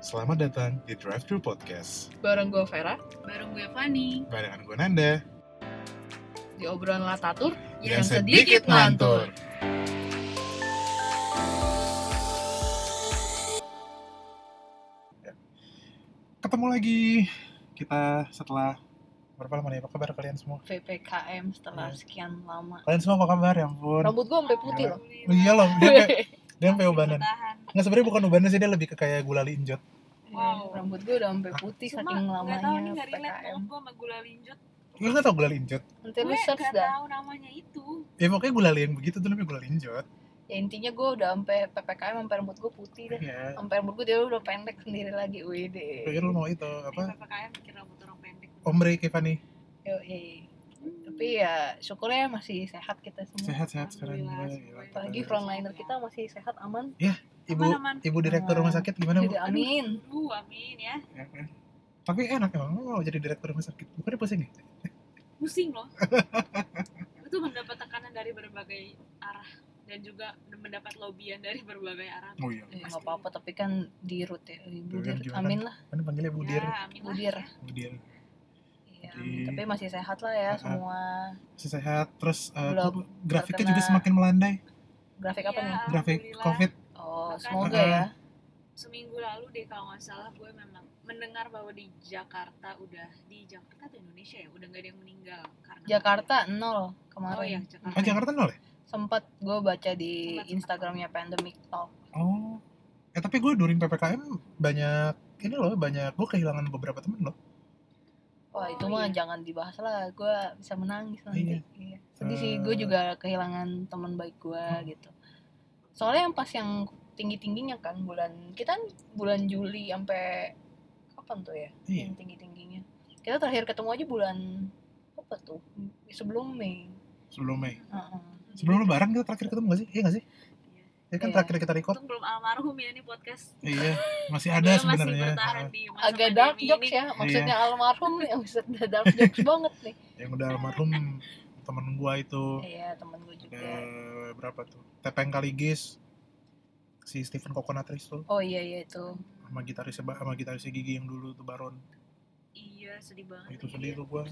Selamat datang di Drive Thru Podcast Bareng gue Vera Bareng gue Fani barengan gue Nanda di obrolan Latatur yang sedikit ngantur. Ya. Ketemu lagi kita setelah berapa lama nih? Apa kabar kalian semua? PPKM Nah. setelah sekian lama. Kalian semua apa kabar? Ya ampun. Rambut gue sampai putih loh. Oh, iya loh, dia kayak dia sampai Masih ubanan. bertahan. Nggak sebenarnya bukan ubanan sih, dia lebih ke kayak gulali injot. Wow. Rambut gue udah sampai putih Cuma saking nggak tahu nih lamanya nggak relate PPKM. banget gue sama gula linjut. Lu nggak tau gulali injot? Nanti lu Gue search Iya, nggak dah. tahu namanya itu. Ya pokoknya gulali yang begitu tuh namanya gulali injot. Ya intinya gue udah sampai PPKM sampai rambut gue putih deh. Iya. Sampai rambut gue dia udah pendek sendiri lagi. Wih Pikir lu mau itu apa? Oh. Di PPKM bikin rambut orang pendek. Ombre Kevani Yoi. Tapi ya syukurnya masih sehat kita semua. sehat-sehat sekarang. Alhamdulillah, Gila, gila. semuanya. Apalagi frontliner kita masih sehat aman. Ibu Aman, aman. ibu direktur rumah sakit gimana bu? Tidak amin. Aduh, amin ya. Ya, ya. Tapi enak emang lu mau jadi direktur rumah sakit. Bukannya pusing ya? Pusing loh. itu mendapat tekanan dari berbagai arah dan juga mendapat lobian dari berbagai arah. Oh iya. Ya, nggak apa-apa tapi kan di root ya. Ibu Tuh kan Dir, gimana? amin lah. Kan panggilnya Bu Dir. Ya, amin Bu lah. Dir. Bu Dir. Iya, Jadi- tapi masih sehat lah ya Sehat. semua. Masih sehat. Terus eh, Belum grafiknya terkena- juga semakin melandai. Grafik apa Iya, nih? Grafik Alhamdulillah. COVID. Oh, Makanya- semoga Heeh. ya. seminggu lalu deh kalau nggak salah gue memang mendengar bahwa di Jakarta udah di Jakarta atau Indonesia ya udah nggak ada yang meninggal karena Jakarta nol kemarin. oh ya Jakarta Oh Jakarta nol ya? Sempat gue baca di Sempat, sempat. Instagramnya Pandemic Talk. Oh. Eh tapi gue during PPKM banyak ini loh banyak gue kehilangan beberapa temen loh. Wah Oh, itu mah iya. jangan dibahas lah. Gue bisa menangis Oh, nanti. Iya. Sedih sih. Gue Eh. juga kehilangan teman baik gue Hmm. gitu. Soalnya yang pas yang tinggi tingginya kan bulan kita kan bulan Juli sampai kapan tuh ya? Iya. Yang tinggi tingginya. Kita terakhir ketemu aja bulan apa tuh? Sebelum Mei. Sebelum Mei. Heeh. Sebelum lebaran kita terakhir ketemu gak sih? Iya gak sih? Ya kan Iya. terakhir kita record. Untung belum almarhum ya ini podcast Iya. Masih Gue ada masih sebenarnya. bertahan di masa agak pandemi dark ini. jokes ya maksudnya almarhum nih buset, udah dark jokes banget nih Yang udah almarhum temen gue itu. iya temen gue juga Ada berapa tuh? Tepeng Kaligis. Si Stephen Kokonatris tuh. oh iya iya itu sama gitaris sama gitaris gigi yang dulu tuh Baron iya sedih banget itu Iya. sedih tuh gua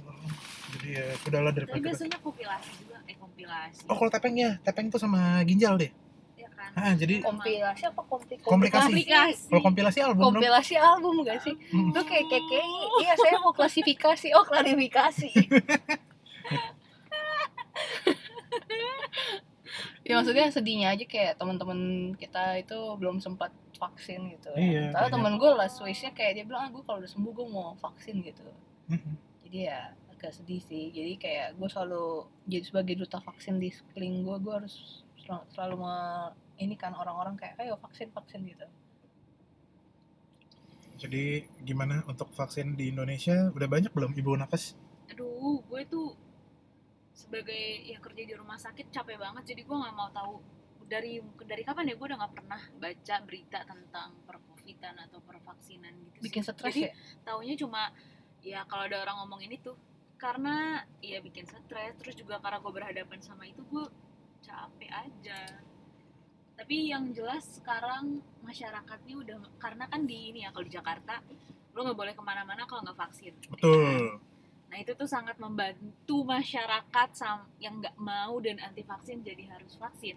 jadi ya sudahlah tapi daripada kita biasanya kompilasi juga eh kompilasi oh kalau tepengnya tepeng tuh sama ginjal deh ya kan ah jadi kompilasi apa kompli Komplikasi. komplikasi kalau kompilasi album dong kompilasi album gak sih Hmm. Lu kayak keke iya saya mau klasifikasi oh klarifikasi ya maksudnya sedihnya aja kayak teman-teman kita itu belum sempat vaksin gitu Iya, ya. Tahu banyak. temen gue last wish-nya kayak dia bilang ah gue kalau udah sembuh gue mau vaksin gitu Mm-mm. jadi ya agak sedih sih jadi kayak gue selalu jadi sebagai duta vaksin di sekeliling gue gue harus sel- selalu me ini kan orang-orang kayak ayo vaksin vaksin gitu jadi gimana untuk vaksin di Indonesia udah banyak belum ibu nafas aduh gue tuh sebagai yang kerja di rumah sakit capek banget jadi gue nggak mau tahu dari dari kapan ya gue udah nggak pernah baca berita tentang perkovitan atau pervaksinan gitu bikin sih. stres Jadi, ya taunya cuma ya kalau ada orang ngomong ini tuh karena ya bikin stres terus juga karena gue berhadapan sama itu gue capek aja tapi yang jelas sekarang masyarakatnya udah karena kan di ini ya kalau di Jakarta lo nggak boleh kemana-mana kalau nggak vaksin betul nah itu tuh sangat membantu masyarakat sam- yang nggak mau dan anti vaksin jadi harus vaksin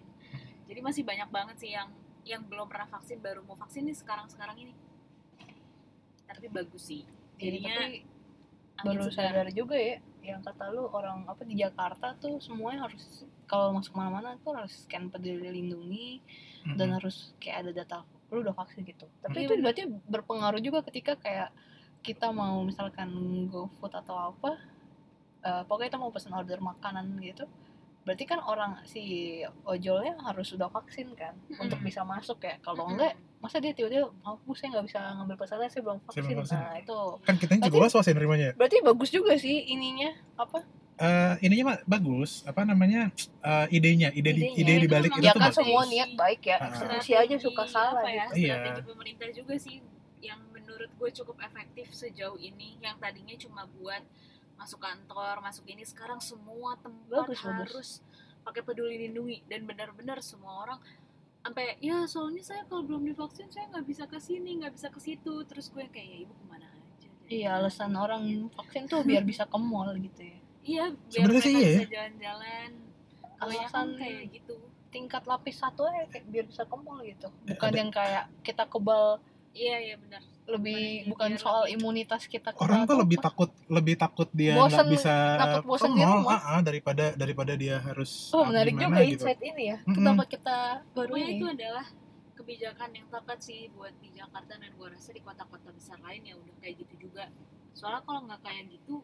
jadi masih banyak banget sih yang yang belum pernah vaksin baru mau vaksin nih sekarang sekarang ini tapi bagus sih jadi jadinya tapi angin baru segar. sadar juga ya yang kata lu orang apa di Jakarta tuh semuanya harus kalau masuk mana-mana tuh harus scan peduli lindungi Mm-mm. dan harus kayak ada data lu udah vaksin gitu tapi Iya, itu berarti berpengaruh juga ketika kayak kita mau misalkan GoFood atau apa eh, pokoknya kita mau pesan order makanan gitu berarti kan orang si ojolnya harus sudah vaksin kan untuk Mm-mm. bisa masuk ya kalau Mm-mm. enggak masa dia tiba-tiba mau bu saya nggak bisa ngambil pesanan saya belum Saya vaksin belum vaksin." nah itu kan kita juga Berarti- was wasin nerimanya berarti bagus juga sih ininya apa Eh ininya mah bagus apa namanya eh, idenya ide di, Idenya. ide Itu dibalik memang itu ya tuh kan bagus. bagus. semua niat baik ya Ah. eksekusi aja suka Strategi salah apa ya, gitu Iya. strategi pemerintah juga sih yang menurut gue cukup efektif sejauh ini yang tadinya cuma buat masuk kantor masuk ini sekarang semua tempat Bagus, bagus. harus pakai peduli lindungi dan benar-benar semua orang sampai ya soalnya saya kalau belum divaksin saya nggak bisa ke sini nggak bisa ke situ terus gue kayak ya ibu kemana aja dari Iya, kemarin?" alasan orang vaksin tuh biar bisa ke mall gitu ya. iya biar Sebenarnya mereka sih iya ya. bisa jalan-jalan alasan Alasan- kayak gitu Tingkat lapis satu aja kayak biar bisa ke mall gitu. Bukan ada- yang kayak kita kebal iya iya benar lebih Bukan bukan yang biar soal lebih- imunitas kita kebal orang tuh atau lebih apa. takut lebih takut dia nggak Bosen, bisa takut bosen ke di mall, rumah. ah, ah, daripada daripada dia harus ah, Oh, menarik gimana juga gitu. insight ini ya. Mm-mm. Kenapa kita baru ini? pokoknya Iya, itu adalah kebijakan yang tepat sih buat di Jakarta dan gue rasa di kota-kota besar lain ya udah kayak gitu juga soalnya kalau nggak kayak gitu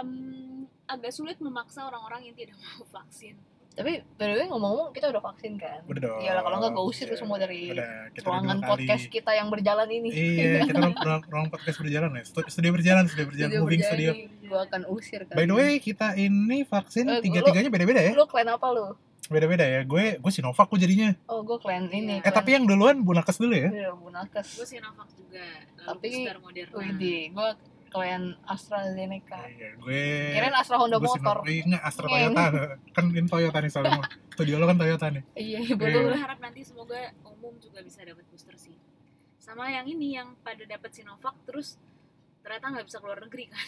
em, agak sulit memaksa orang-orang yang tidak mau vaksin Tapi by the way ngomong-ngomong kita udah vaksin kan? Udah dong. Iyalah kalau nggak gue usir Iya. semua dari Udah, kita udah ruangan dua kali. podcast kita yang berjalan ini. Iya, kita ruang- ruang, ruang podcast berjalan ya. Stu- Studio berjalan, studio berjalan, Studio moving berjalan studio. ini, Gua akan usir kan. By the way, kita ini vaksin Eh, tiga-tiganya beda-beda ya. lu klan apa lu? Beda-beda ya. Gue gue Sinovac gue jadinya. Oh, gue klan ini. Eh, Iya. tapi yang duluan Bunakes dulu ya. Iya, Bunakes. gue Sinovac juga lalu Tapi- booster Moderna Hmm. Widih, gue kalian AstraZeneca. Iya, gue Kirain Astra Honda gue motor. Iya, Sinovac, enggak Astra Ngeng. Toyota. kan ini Toyota nih soalnya. studio lo kan Toyota nih. Iya, gue Iya. betul. berharap nanti semoga umum juga bisa dapat booster sih sama yang ini yang pada dapat Sinovac terus ternyata nggak bisa keluar negeri kan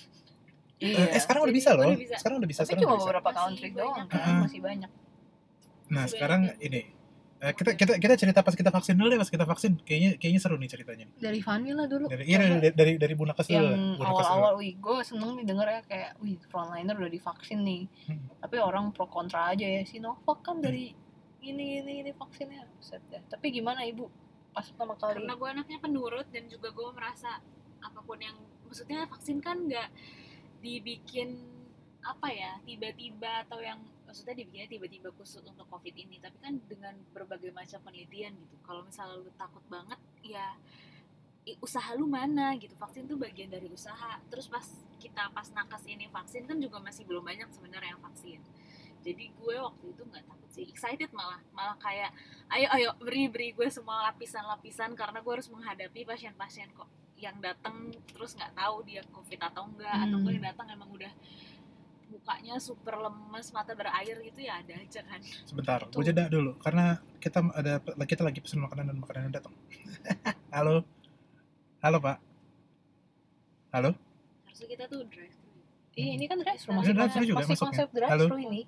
Eh, Eh, Iya. sekarang udah Jadi bisa udah loh. bisa. Sekarang udah bisa. Tapi sekarang cuma udah bisa. Nah, beberapa Masih country doang banyak kan? kan, masih banyak. Nah, Masih sekarang banyak yang- ini Eh, kita kita kita cerita pas kita vaksin dulu deh pas kita vaksin kayaknya kayaknya seru nih ceritanya Dari Fanny lah dulu. dari iya, dari dari, dari Bunakes dulu lah, yang Bunakes dulu. awal-awal, wih, gue seneng nih denger ya kayak, wih, frontliner udah divaksin nih. Hmm. Tapi orang pro kontra aja ya, Sinovac kan dari ini ini ini vaksinnya. Buset dah. Tapi gimana ibu pas pertama kali? karena gue anaknya penurut dan juga gue merasa apapun yang maksudnya vaksin kan nggak dibikin apa ya tiba-tiba atau yang maksudnya dibikinnya tiba-tiba khusus untuk covid ini tapi kan dengan berbagai macam penelitian gitu kalau misalnya lu takut banget ya i- usaha lu mana gitu vaksin tuh bagian dari usaha terus pas kita pas nakas ini vaksin kan juga masih belum banyak sebenarnya yang vaksin jadi gue waktu itu nggak takut sih excited malah malah kayak ayo ayo beri beri gue semua lapisan-lapisan karena gue harus menghadapi pasien-pasien kok yang datang terus nggak tahu dia covid atau enggak atau gue Hmm. yang datang emang udah mukanya super lemes mata berair gitu ya ada aja kan Sebentar, gue Tuh. jeda dulu karena kita ada kita lagi pesen makanan dan makanan datang. Halo. Halo, Pak. harusnya kita tuh drive thru Iya, ini kan drive Ini masih drive-thru konsep, juga masih masuknya. konsep drive Halo. thru ini.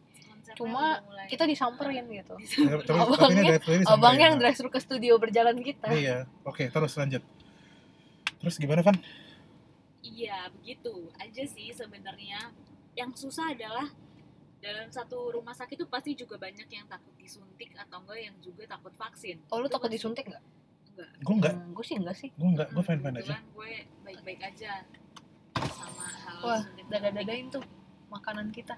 Cuma Kita disamperin gitu. Eh, Tapi, tapi Abangnya- drive thru ini sampai, Abangnya yang Pak. drive thru ke studio berjalan kita. ya? Iya. Oke, terus lanjut. Terus gimana, Van? Iya, begitu aja sih sebenarnya. Yang susah adalah dalam satu rumah sakit itu pasti juga banyak yang takut disuntik atau enggak yang juga takut vaksin. Oh, lu Itu takut pasti- disuntik nggak? Enggak. Gue enggak, Hmm, gue sih enggak sih. gue enggak, gue fine-fine aja. Kebetulan gue baik-baik aja sama hal Wah, suntik. dada-dadain tuh makanan kita.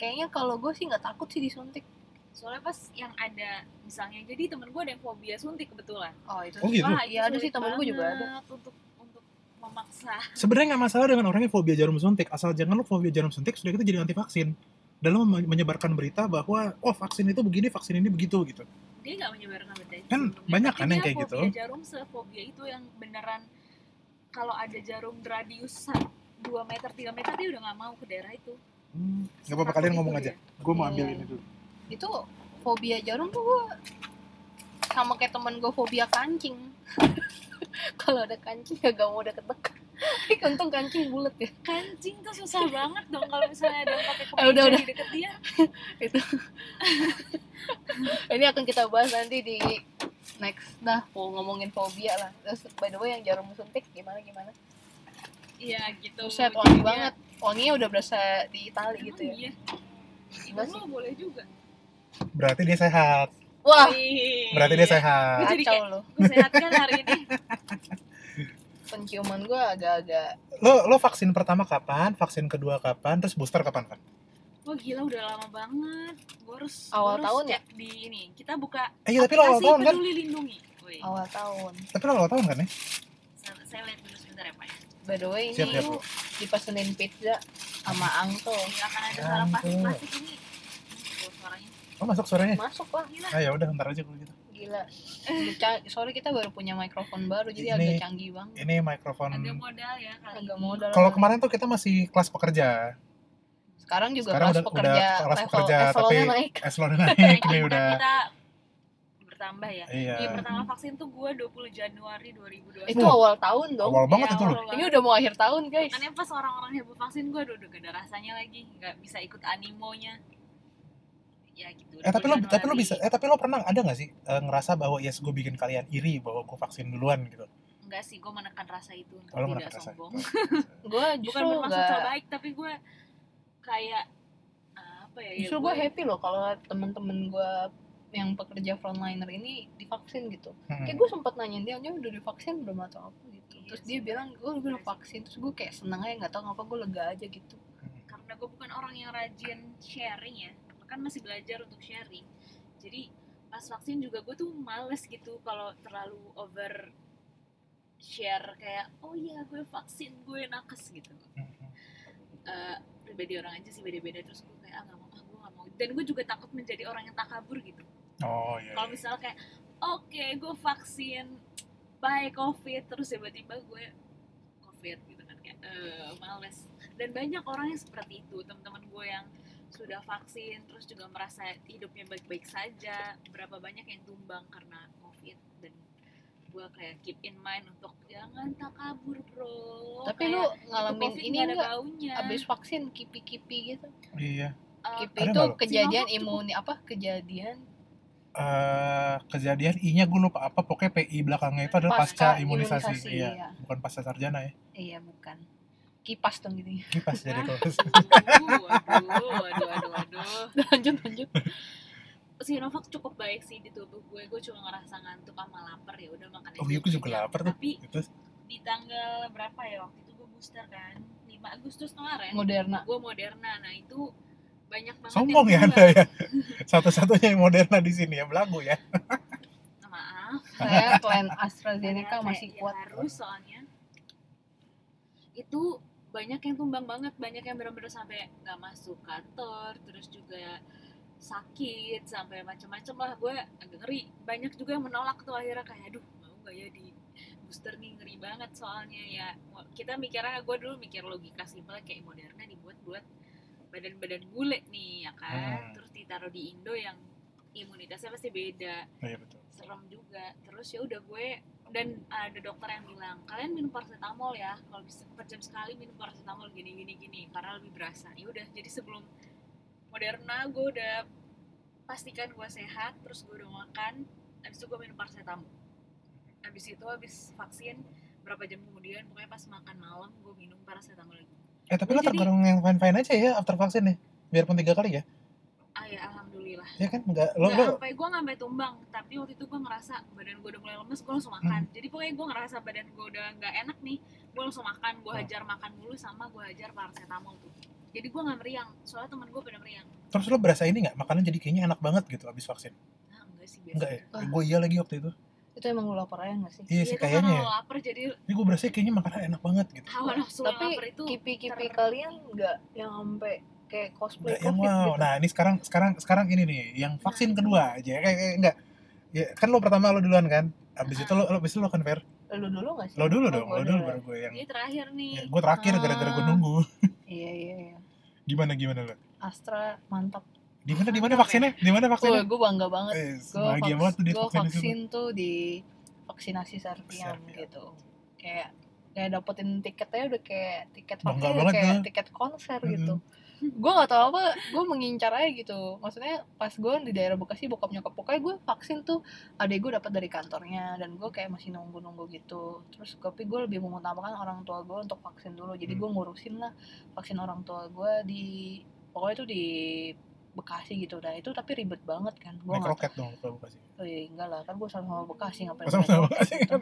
Kayaknya kalau gue sih nggak takut sih disuntik. Soalnya pas yang ada misalnya jadi temen gue ada yang fobia suntik kebetulan. Oh itu. Oh, gitu? Wah, itu Iya, ada sih, sulit temen gue juga ada. banget Untuk untuk memaksa. Sebenarnya nggak masalah dengan orang yang fobia jarum suntik, asal jangan lu fobia jarum suntik sudah kita jadi anti vaksin. Dan lu men- menyebarkan berita bahwa oh vaksin itu begini, vaksin ini begitu gitu. dia nggak menyebarkan berita itu Kan sebelumnya. banyak Tapi kan yang dia kayak gitu. fobia jarum sefobia itu yang beneran kalau ada jarum radius 2 meter 3 meter dia udah nggak mau ke daerah itu Hmm, nggak apa-apa kalian ngomong aja. Gue mau ambil Iya. ini dulu. Itu fobia jarum tuh gue sama kayak temen gue fobia kancing. kalau ada kancing kagak mau deket-deket. Tapi untung kancing bulat ya. kancing tuh susah banget dong kalau misalnya ada yang pakai Eh, udah, kemeja udah. di deket dia Ini akan kita bahas nanti di next dah mau ngomongin fobia lah. Terus by the way yang jarum suntik gimana gimana? iya gitu Buset Jadi wangi dia- banget. Wanginya udah berasa di Itali Emang gitu ya. iya itu Enggak mah boleh juga Berarti dia sehat. Wah, Wih. Berarti dia sehat. Gue jadi kacau kayak- lo. Gue sehat kan hari ini Penciuman gue agak-agak lo lo vaksin pertama kapan vaksin kedua kapan terus booster kapan kan Wah gila udah lama banget Gue harus Awal gua harus tahun ya? cek di ini Kita buka eh iya, tapi lo awal aplikasi tahun kan peduli lindungi Wih. awal tahun. tapi lo awal tahun kan ya Saya, saya lihat dulu sebentar ya Pak ya. By the way, ini Siap, siap, lu dipesenin pizza sama Angto. Ini akan Iya, kan ada suara plastik-plastik ini. Tuh, suaranya. oh masuk suaranya Masuk lah, gila. ah ya udah ntar aja kalau gitu Gila. Udah ca- Sorry kita baru punya mikrofon baru, jadi Ini- agak canggih banget. ini mikrofon Ada modal ya kali Agak ini. modal. kalau lah. kemarin tuh kita masih kelas pekerja Sekarang juga sekarang kelas udah- pekerja, udah kelas level pekerja, eselonnya tapi- naik. eselon naik Nah, ini kita- udah kita bertambah ya. Iya. Iya pertama vaksin tuh gue 20 Januari 2020. Itu Wah. awal tahun dong. Ya Awal banget Iya, itu loh. awal Ini banget. udah mau akhir tahun, guys. Makanya pas orang-orang heboh vaksin gue udah gak ada rasanya lagi, nggak bisa ikut animonya. Ya gitu. Eh tapi lo 20 tapi lo Januari. bisa eh tapi lo pernah ada nggak sih eh, ngerasa bahwa yes gue bikin kalian iri bahwa gue vaksin duluan gitu. Enggak sih, gue menekan rasa itu untuk Kalau tidak ngerasa sombong. Gue Bukan justru bermaksud gak... so baik, tapi gue kayak apa ya? ya Justru gue happy loh kalau temen-temen gue yang pekerja frontliner ini divaksin gitu. Hmm. Kayak gue sempat nanyain dia, dia udah divaksin belum atau apa gitu. Iya Terus sih. dia bilang, gue udah vaksin. Terus gue kayak seneng aja, gak tau ngapa gue lega aja gitu. karena gue bukan orang yang rajin sharing ya kan masih belajar untuk sharing jadi pas vaksin juga gue tuh males gitu kalau terlalu over share kayak oh iya gue vaksin gue nakes gitu Hmm. Eh, pribadi orang aja sih beda-beda terus gue kayak ah gak mau ah gue gak mau dan gue juga takut menjadi orang yang takabur gitu Oh iya. kalau iya. misalnya kayak oke gue vaksin bye covid terus tiba-tiba gue covid gitu kan kayak eh males dan banyak orang yang seperti itu teman-teman gue yang sudah vaksin terus juga merasa hidupnya baik-baik saja berapa banyak yang tumbang karena covid dan gue kayak keep in mind untuk jangan takabur bro Tapi lu Oh, Kayak, ngalamin "Itu COVID ini nggak ada enggak? baunya Abis vaksin kipi-kipi gitu. Iya. Eh, Kipi Ada itu nggak lu? kejadian Sinovac tuh. imun apa? Kejadian Eh, kejadian I-nya gue lupa apa pokoknya PI belakangnya itu adalah pasca, pasca imunisasi. imunisasi, Iya. iya. Bukan pasca sarjana ya. Iya bukan. Kipas dong gitu. Kipas jadi Wah. kelas. aduh aduh aduh aduh aduh lanjut lanjut. Sinovac cukup baik sih di tubuh gue. Gue cuma ngerasa ngantuk sama lapar ya udah makan. Oh aja iya gue juga banyak. lapar tuh. Tapi Gitu. di tanggal berapa ya waktu itu gue booster kan? 5 Agustus kemarin. Moderna. Gue Moderna. Nah itu banyak banget. Sombong ya yang anda bilang, ya. Satu-satunya yang Moderna di sini ya belagu ya. Maaf. Saya plan ternyata AstraZeneca masih ya kuat. Harus soalnya. Itu banyak yang tumbang banget. Banyak yang bener-bener sampai nggak masuk kantor. Terus juga sakit sampai macam-macam lah gue agak ngeri banyak juga yang menolak tuh akhirnya kayak aduh mau gak ya di booster nih ngeri banget soalnya ya Mau- kita mikirnya gue dulu mikir logika simpel kayak Moderna dibuat buat badan-badan bule nih ya Hmm. kan terus ditaruh di Indo yang imunitasnya pasti beda Iya betul. serem juga terus ya udah gue dan ada dokter yang bilang kalian minum paracetamol ya kalau bisa per jam sekali minum paracetamol gini gini gini karena lebih berasa ya udah jadi sebelum Moderna gue udah pastikan gue sehat terus gue udah makan habis itu gue minum paracetamol habis itu habis vaksin berapa jam kemudian pokoknya pas makan malam gue minum paracetamol lagi Eh tapi Gua lo Iya, jadi- tergolong yang fine-fine aja ya after vaksin ya. Biarpun tiga kali ya. ah ya alhamdulillah Ya kan nggak lo nggak lo sampai gue nggak sampai tumbang tapi waktu itu gue ngerasa badan gue udah mulai lemes gue langsung makan Hmm. jadi pokoknya gue ngerasa badan gue udah nggak enak nih gue langsung makan gue Hmm. hajar makan dulu sama gue hajar paracetamol tuh jadi gue nggak meriang soalnya temen gue pada meriang terus lo berasa ini nggak makanan jadi kayaknya enak banget gitu abis vaksin ah enggak sih biasa enggak ya aja. Ah. gue iya lagi waktu itu Itu emang lu lapar aja gak sih? iya Iya, sih itu karena kayaknya ya. lo lapar jadi ini gue berasa kayaknya makanan enak banget gitu hawa nafsu lo Tapi lapar itu Kipi-kipi ter- kalian nggak yang sampai kayak cosplay Nggak yang covid wow gitu. nah ini sekarang sekarang sekarang ini nih yang vaksin kedua aja kayak kayak enggak ya kan lo pertama lo duluan kan abis itu lo lo abis itu lo convert Lu dulu gak sih? lo dulu Oh, dong gua lo dulu dulu. baru gue yang dia terakhir nih gue terakhir Ah. gara-gara gue nunggu Iya iya iya. gimana gimana lo Astra mantap. di mana di mana Mantap ya. vaksinnya di mana Gue vaksinnya gue bangga banget. Eh, Gue bahagia banget tuh dia vaksin, vaksin itu vaksin tuh di vaksinasi Sarpiam Sarpiam. gitu. Kayak kayak dapetin tiketnya udah kayak tiket Bangga vaksin udah banget kayak gua. tiket konser Mm-mm. gitu. Gue nggak tahu apa, gue mengincar aja gitu. Maksudnya pas gue di daerah Bekasi bokap nyokap pokoknya gue vaksin tuh adek gue dapat dari kantornya dan gue kayak masih nunggu-nunggu gitu. Terus tapi gue lebih mengutamakan orang tua gue untuk vaksin dulu. Jadi Hmm. gue ngurusin lah vaksin orang tua gue di pokoknya tuh di Bekasi gitu dah itu tapi ribet banget kan gue naik nggak roket dong kalau bukan sih Oh iya, enggak lah, kan gue sama Hmm. Bekasi ngapain masa naik sama roket vaksin gitu.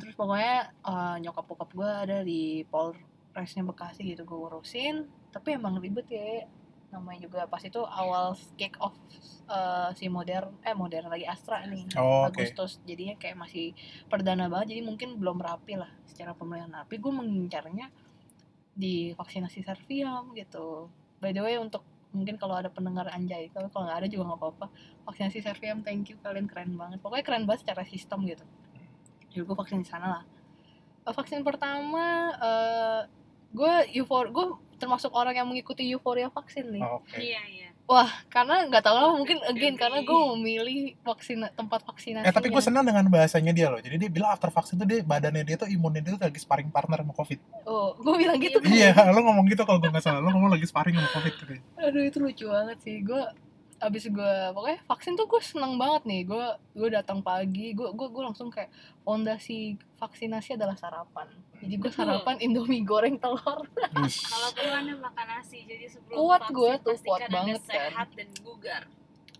Terus pokoknya eh, nyokap bokap gue ada di Polresnya Bekasi gitu gue urusin Tapi emang ribet ya Namanya juga pas itu awal kick off eh, si modern Eh modern lagi Astra nih oh oke Agustus jadinya kayak masih perdana banget jadi mungkin belum rapi lah secara pemilihan tapi gue mengincarnya di vaksinasi Sarviam gitu by the way untuk mungkin kalau ada pendengar anjay tapi kalau nggak ada juga nggak apa-apa vaksinasi Sarviam thank you kalian keren banget pokoknya keren banget secara sistem gitu Hmm. jadi gue vaksin di sana lah Eh, vaksin pertama eh gue eufor gue termasuk orang yang mengikuti euforia vaksin nih Oh, oke iya iya karena nggak tahu lah mungkin again karena gue memilih vaksin tempat vaksinasi iya. Eh tapi gue senang dengan bahasanya dia loh. Jadi dia bilang after vaksin tuh dia badannya dia tuh imunnya dia tuh lagi sparring partner sama covid. oh gue bilang gitu kan iya, lo ngomong gitu kalau gue nggak salah. Lo ngomong lagi sparring sama covid gitu. aduh itu lucu banget sih gue abis gue pokoknya vaksin tuh gue seneng banget nih gue gue datang pagi gue gue gue langsung kayak fondasi vaksinasi adalah sarapan jadi gue Betul. sarapan indomie goreng telur Bus. Kalau perlu anda makan nasi, jadi sebelum Kuat vaksin, gua tuh, pastikan kuat Anda banget kan. sehat dan bugar.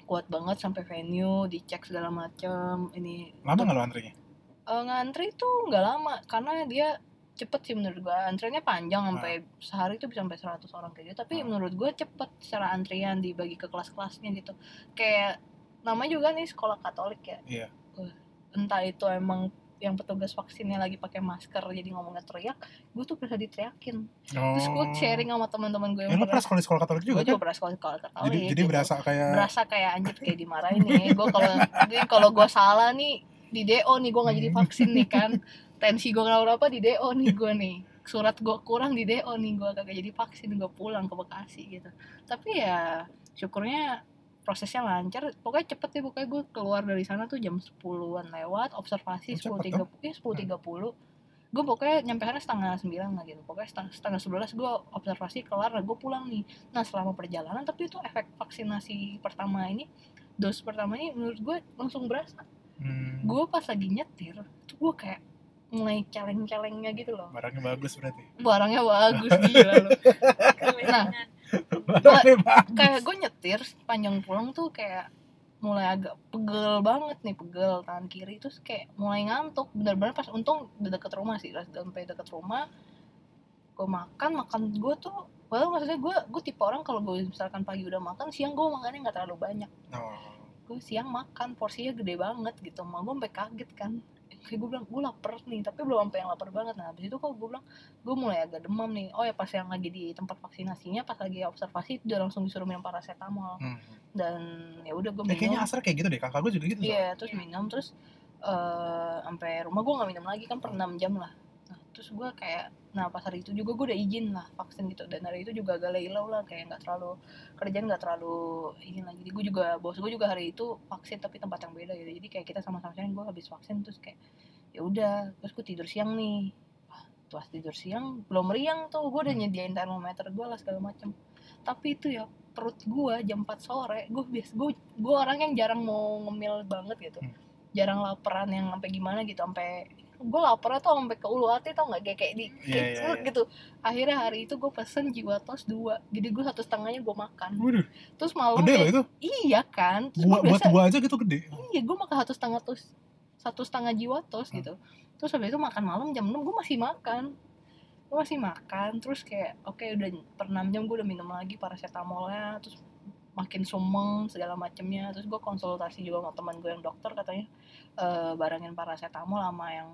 kuat banget sampai venue dicek segala macem ini Lama nggak lo antrinya? Eh, ngantri tuh nggak lama karena dia cepet sih menurut gue antriannya panjang sampai sehari tuh bisa sampai 100 orang kayak gitu tapi Ah. menurut gue cepet secara antrian dibagi ke kelas-kelasnya gitu kayak namanya juga nih sekolah Katolik ya Iya. Wah, entah itu emang yang petugas vaksinnya lagi pakai masker jadi ngomongnya teriak gue tuh bisa diteriakin Oh. terus gue sharing sama teman-teman gue Ya, lo pernah sekolah di sekolah Katolik gue juga juga kan? pernah sekolah sekolah Katolik Jadi jadi gitu berasa kayak berasa kayak anjir kayak dimarahin nih gue kalau jadi kalau gue salah nih di do nih gue nggak jadi vaksin nih kan tensi gue kenapa apa di do nih gue nih surat gue kurang di do nih gue kagak jadi vaksin gue pulang ke bekasi gitu tapi ya syukurnya prosesnya lancar pokoknya cepet deh pokoknya gue keluar dari sana tuh jam 10-an lewat Oh, observasi Cepet sepuluh tiga iya, sepuluh tiga puluh gue pokoknya nyampe sana setengah sembilan lah gitu pokoknya setengah, setengah sebelas gue observasi kelar gue pulang nih nah selama perjalanan tapi itu efek vaksinasi pertama ini dos pertama ini menurut gue langsung berasa Hmm, gue pas lagi nyetir tuh gue kayak mulai celeng-celengnya gitu loh barangnya bagus berarti. barangnya bagus gila loh Nah. Kelengan. Barangnya bagus. kayak gue nyetir panjang pulang tuh kayak mulai agak pegel banget nih pegel tangan kiri terus kayak mulai ngantuk bener-bener pas untung de- deket rumah sih pas sampai deket rumah gue makan makan gue tuh well maksudnya gue gue tipe orang kalau gue misalkan pagi udah makan siang gue makannya nggak terlalu banyak Oh. gue siang makan porsinya gede banget gitu mau gue sampai kaget kan Hmm. kayak gue bilang gue lapar nih tapi belum sampai yang lapar banget nah habis itu kok gue bilang gue mulai agak demam nih oh ya pas yang lagi di tempat vaksinasinya pas lagi observasi udah langsung disuruh minum paracetamol Hmm. dan ya udah gue Ya, kayaknya minum asar kayak gitu deh. Kakak gue juga gitu. soalnya. iya terus minum terus eh sampai rumah gue nggak minum lagi kan per 6 jam lah nah, terus gue kayak nah pas hari itu juga gue udah izin lah vaksin gitu dan hari itu juga agak laylow lah kayak nggak terlalu kerjaan nggak terlalu ini lagi jadi gue juga bos gue juga hari itu vaksin tapi tempat yang beda gitu jadi kayak kita sama-sama sharing gue habis vaksin terus kayak ya udah terus gue tidur siang nih Wah, tuas tidur siang belum meriang tuh gue udah Hmm. nyediain termometer gue lah segala macem tapi itu ya perut gue jam 4 sore gue bias gue gue orang yang jarang mau ngemil banget gitu Hmm. jarang laparan yang sampai gimana gitu sampai gue laparnya tuh sampai ke ulu hati tau nggak kayak kayak di Iya, kayak iya, cerut iya. gitu akhirnya hari itu gue pesen jiwa tos dua jadi gue satu setengahnya gue makan Waduh, terus Hmm. gede loh malamnya itu. iya kan terus Gua, gua buat biasa gua aja gitu gede. iya gue makan satu setengah tos satu setengah jiwa tos Hmm. gitu terus habis itu makan malam jam 6 gue masih makan gue masih makan terus kayak oke udah per 6 jam gue udah minum lagi paracetamolnya terus makin sumeng segala macemnya terus gue konsultasi juga sama teman gue yang dokter katanya eh, barangin paracetamol sama yang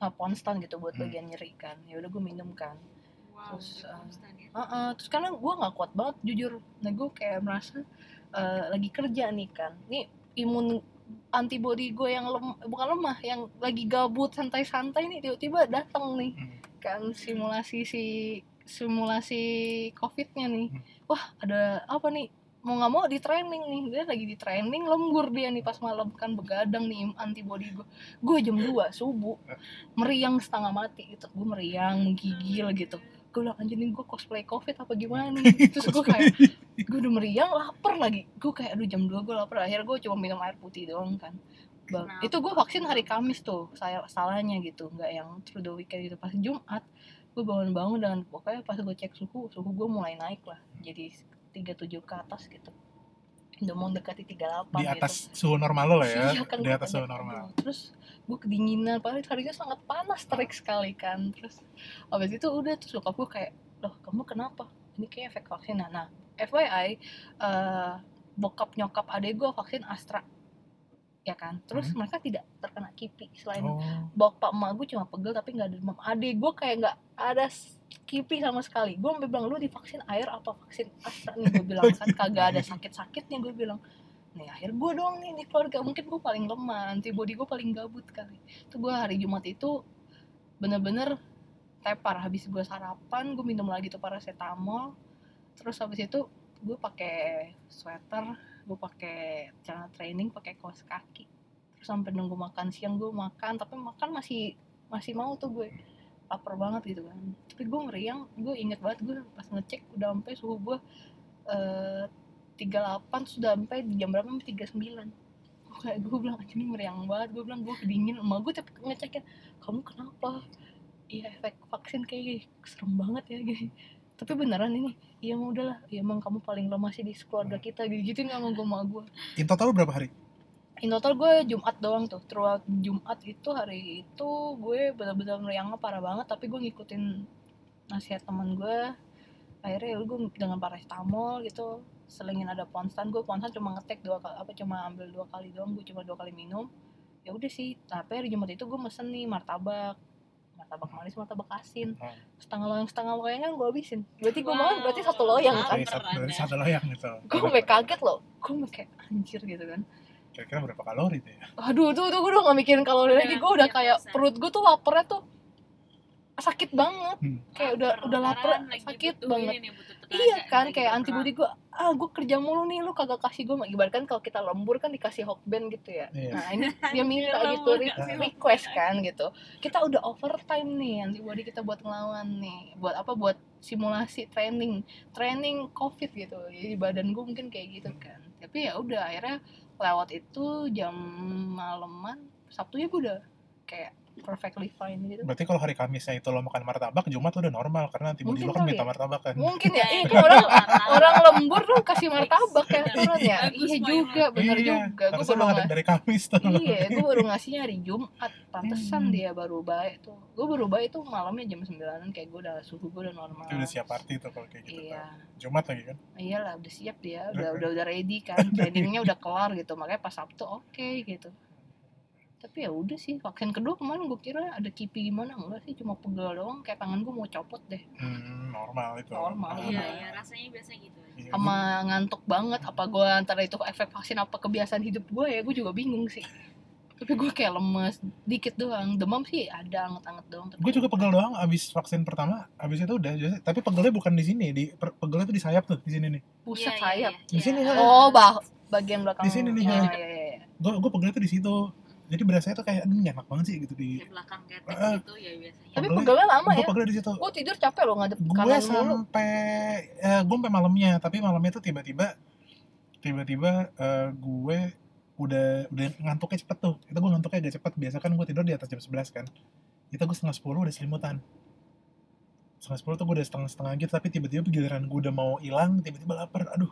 eh, ponstan gitu buat Hmm. bagian nyeri kan ya udah gue minum kan Wow, Terus, udah ah. konstan ya. Heeh, terus karena gue nggak kuat banget jujur nah gue kayak merasa eh, lagi kerja nih kan nih imun antibody gue yang lem- bukan lemah yang lagi gabut santai-santai nih tiba-tiba datang nih Hmm. kan simulasi si simulasi covidnya nih Hmm. wah ada apa nih mau nggak mau di training nih dia lagi di training lembur dia nih pas malam kan begadang nih antibody gue gue jam 2 subuh meriang setengah mati gitu gue meriang menggigil gitu gue bilang anjir nih gue cosplay covid apa gimana nih terus gue kayak gue udah meriang lapar lagi gue kayak aduh jam 2 gue lapar akhirnya gue cuma minum air putih doang kan Bang, Kenapa? itu gue vaksin hari Kamis tuh saya salahnya gitu nggak yang through the weekend gitu pas Jumat gue bangun-bangun dan pokoknya pas gue cek suhu suhu gue mulai naik lah jadi 37 ke atas gitu udah mau dekati 38 Di gitu. atas suhu normal lo lah ya. Iya, kan Di gua atas suhu kaget. normal. Aduh, Terus gue kedinginan, padahal itu harinya sangat panas, terik sekali kan. Terus abis itu udah terus nyokap gue kayak, loh kamu kenapa? Ini kayak efek vaksin. Nah, nah FYI, eh, bokap nyokap adek gue vaksin Astra, ya kan. Terus Hmm. mereka tidak terkena kipi selain Oh. bapak emak gue cuma pegel tapi nggak ada demam adek gue kayak nggak ada s- kipi sama sekali gue sampai bilang lu divaksin air apa vaksin astra nih gue bilang kan kagak ada sakit sakitnya gue bilang nih akhir gue doang nih di keluarga mungkin gue paling lemah antibody gue paling gabut kali itu gue hari jumat itu bener-bener tepar habis gue sarapan gue minum lagi tuh paracetamol terus habis itu gue pakai sweater gue pakai celana training pakai kaos kaki terus sampai nunggu makan siang gue makan tapi makan masih masih mau tuh gue lapar banget gitu kan tapi gue ngeriang gue inget banget gue pas ngecek udah sampai suhu gue eh, 38 sudah sampai di jam berapa sampai 39 Gue kayak gue bilang "Anjing, ini meriang banget gue bilang gue kedingin emak gue tapi ngecekin kamu kenapa iya efek vaksin kayak gini serem banget ya gini tapi beneran ini iya mau udahlah ya emang kamu paling lemah sih di keluarga kita gitu gituin sama gue sama gue In total berapa hari? in total gue Jumat doang tuh throughout Jumat itu hari itu gue benar-benar meriangnya parah banget tapi gue ngikutin nasihat teman gue akhirnya ya gue dengan paracetamol gitu selingin ada ponstan gue ponstan cuma ngetek dua kali apa cuma ambil dua kali doang gue cuma dua kali minum ya udah sih tapi hari Jumat itu gue mesen nih martabak martabak manis martabak asin Hmm. setengah loyang setengah loyang kan gue habisin berarti gue Wow. makan berarti satu loyang kan Dari satu, dari satu loyang gitu. gue sampai kaget loh gue sampai kayak anjir gitu kan Kira-kira berapa kalori tuh ya? aduh tuh tuh gue udah gak mikirin kalori Udah, lagi gue udah iya, kayak perasaan. perut gue tuh laparnya tuh sakit banget Hmm. kayak udah udah lapar Lamaran lagi sakit butuh banget ini nih, butuh tenaga iya nih, kan lagi kayak berperang. antibody gue ah gue kerja mulu nih lu kagak kasih gue ibaratkan kalau kita lembur kan dikasih hokben gitu ya Iya. nah ini dia minta Anjir, gitu lembur re- kasih request hokben. kan gitu kita udah overtime nih antibody kita buat ngelawan nih buat apa buat simulasi training training covid gitu jadi badan gue mungkin kayak gitu kan tapi ya udah akhirnya lewat itu jam malaman sabtunya gue udah kayak perfectly fine gitu Berarti kalau hari Kamisnya itu lo makan martabak, Jumat lo udah normal karena tiba lo Mungkin kan kali minta ya. martabak kan. mungkin ya iya Iya, kan orang lamaran. orang lembur tuh kasih martabak ya turun ya Bagus iya poinnya. juga bener Iya, juga gue Harusnya baru makan ngasih dari Kamis tuh. iya gue baru ngasihnya hari Jumat pantesan Hmm. dia baru baik tuh gue baru baik tuh malamnya jam 9an kayak gue udah suhu gue udah normal Itu udah siap party tuh kalau kayak gitu. tuh. iya Jumat lagi kan. iyalah udah siap dia Keren. udah udah udah ready kan trainingnya udah kelar gitu makanya pas Sabtu oke gitu tapi ya udah sih vaksin kedua kemarin gue kira ada kipi gimana enggak sih cuma pegel doang kayak tangan gue mau copot deh Hmm, normal itu. Normal, iya Lamaran. iya rasanya biasa gitu aja. Iya, gua- sama ngantuk banget apa gue antara itu efek vaksin apa kebiasaan hidup gue ya gue juga bingung sih tapi gue kayak lemes dikit doang demam sih ada anget-anget doang tapi gue juga pegel doang abis vaksin pertama abis itu udah jadi- tapi pegelnya bukan di sini di per- pegelnya tuh di sayap tuh di sini nih pusat Iya, sayap iya, Di iya. sini, kan? oh bah bagian belakang Di sini nih, oh, ya. iya, iya, iya. gue gue pegelnya tuh di situ jadi berasanya tuh kayak aduh nggak enak banget sih gitu di di belakang ketek Ah. gitu ya biasanya tapi Pegelnya- pegelnya lama gue ya pegelnya di situ gue tidur capek loh ngadep gue kanan mulu sampai gue eh, sampai malamnya tapi malamnya tuh tiba-tiba tiba-tiba eh, gue udah udah ngantuknya cepet tuh itu gue ngantuknya agak cepet biasa kan gue tidur di atas jam 11 kan itu gue setengah 10 udah selimutan setengah 10 tuh gue udah setengah setengah gitu tapi tiba-tiba giliran gue udah mau hilang tiba-tiba lapar aduh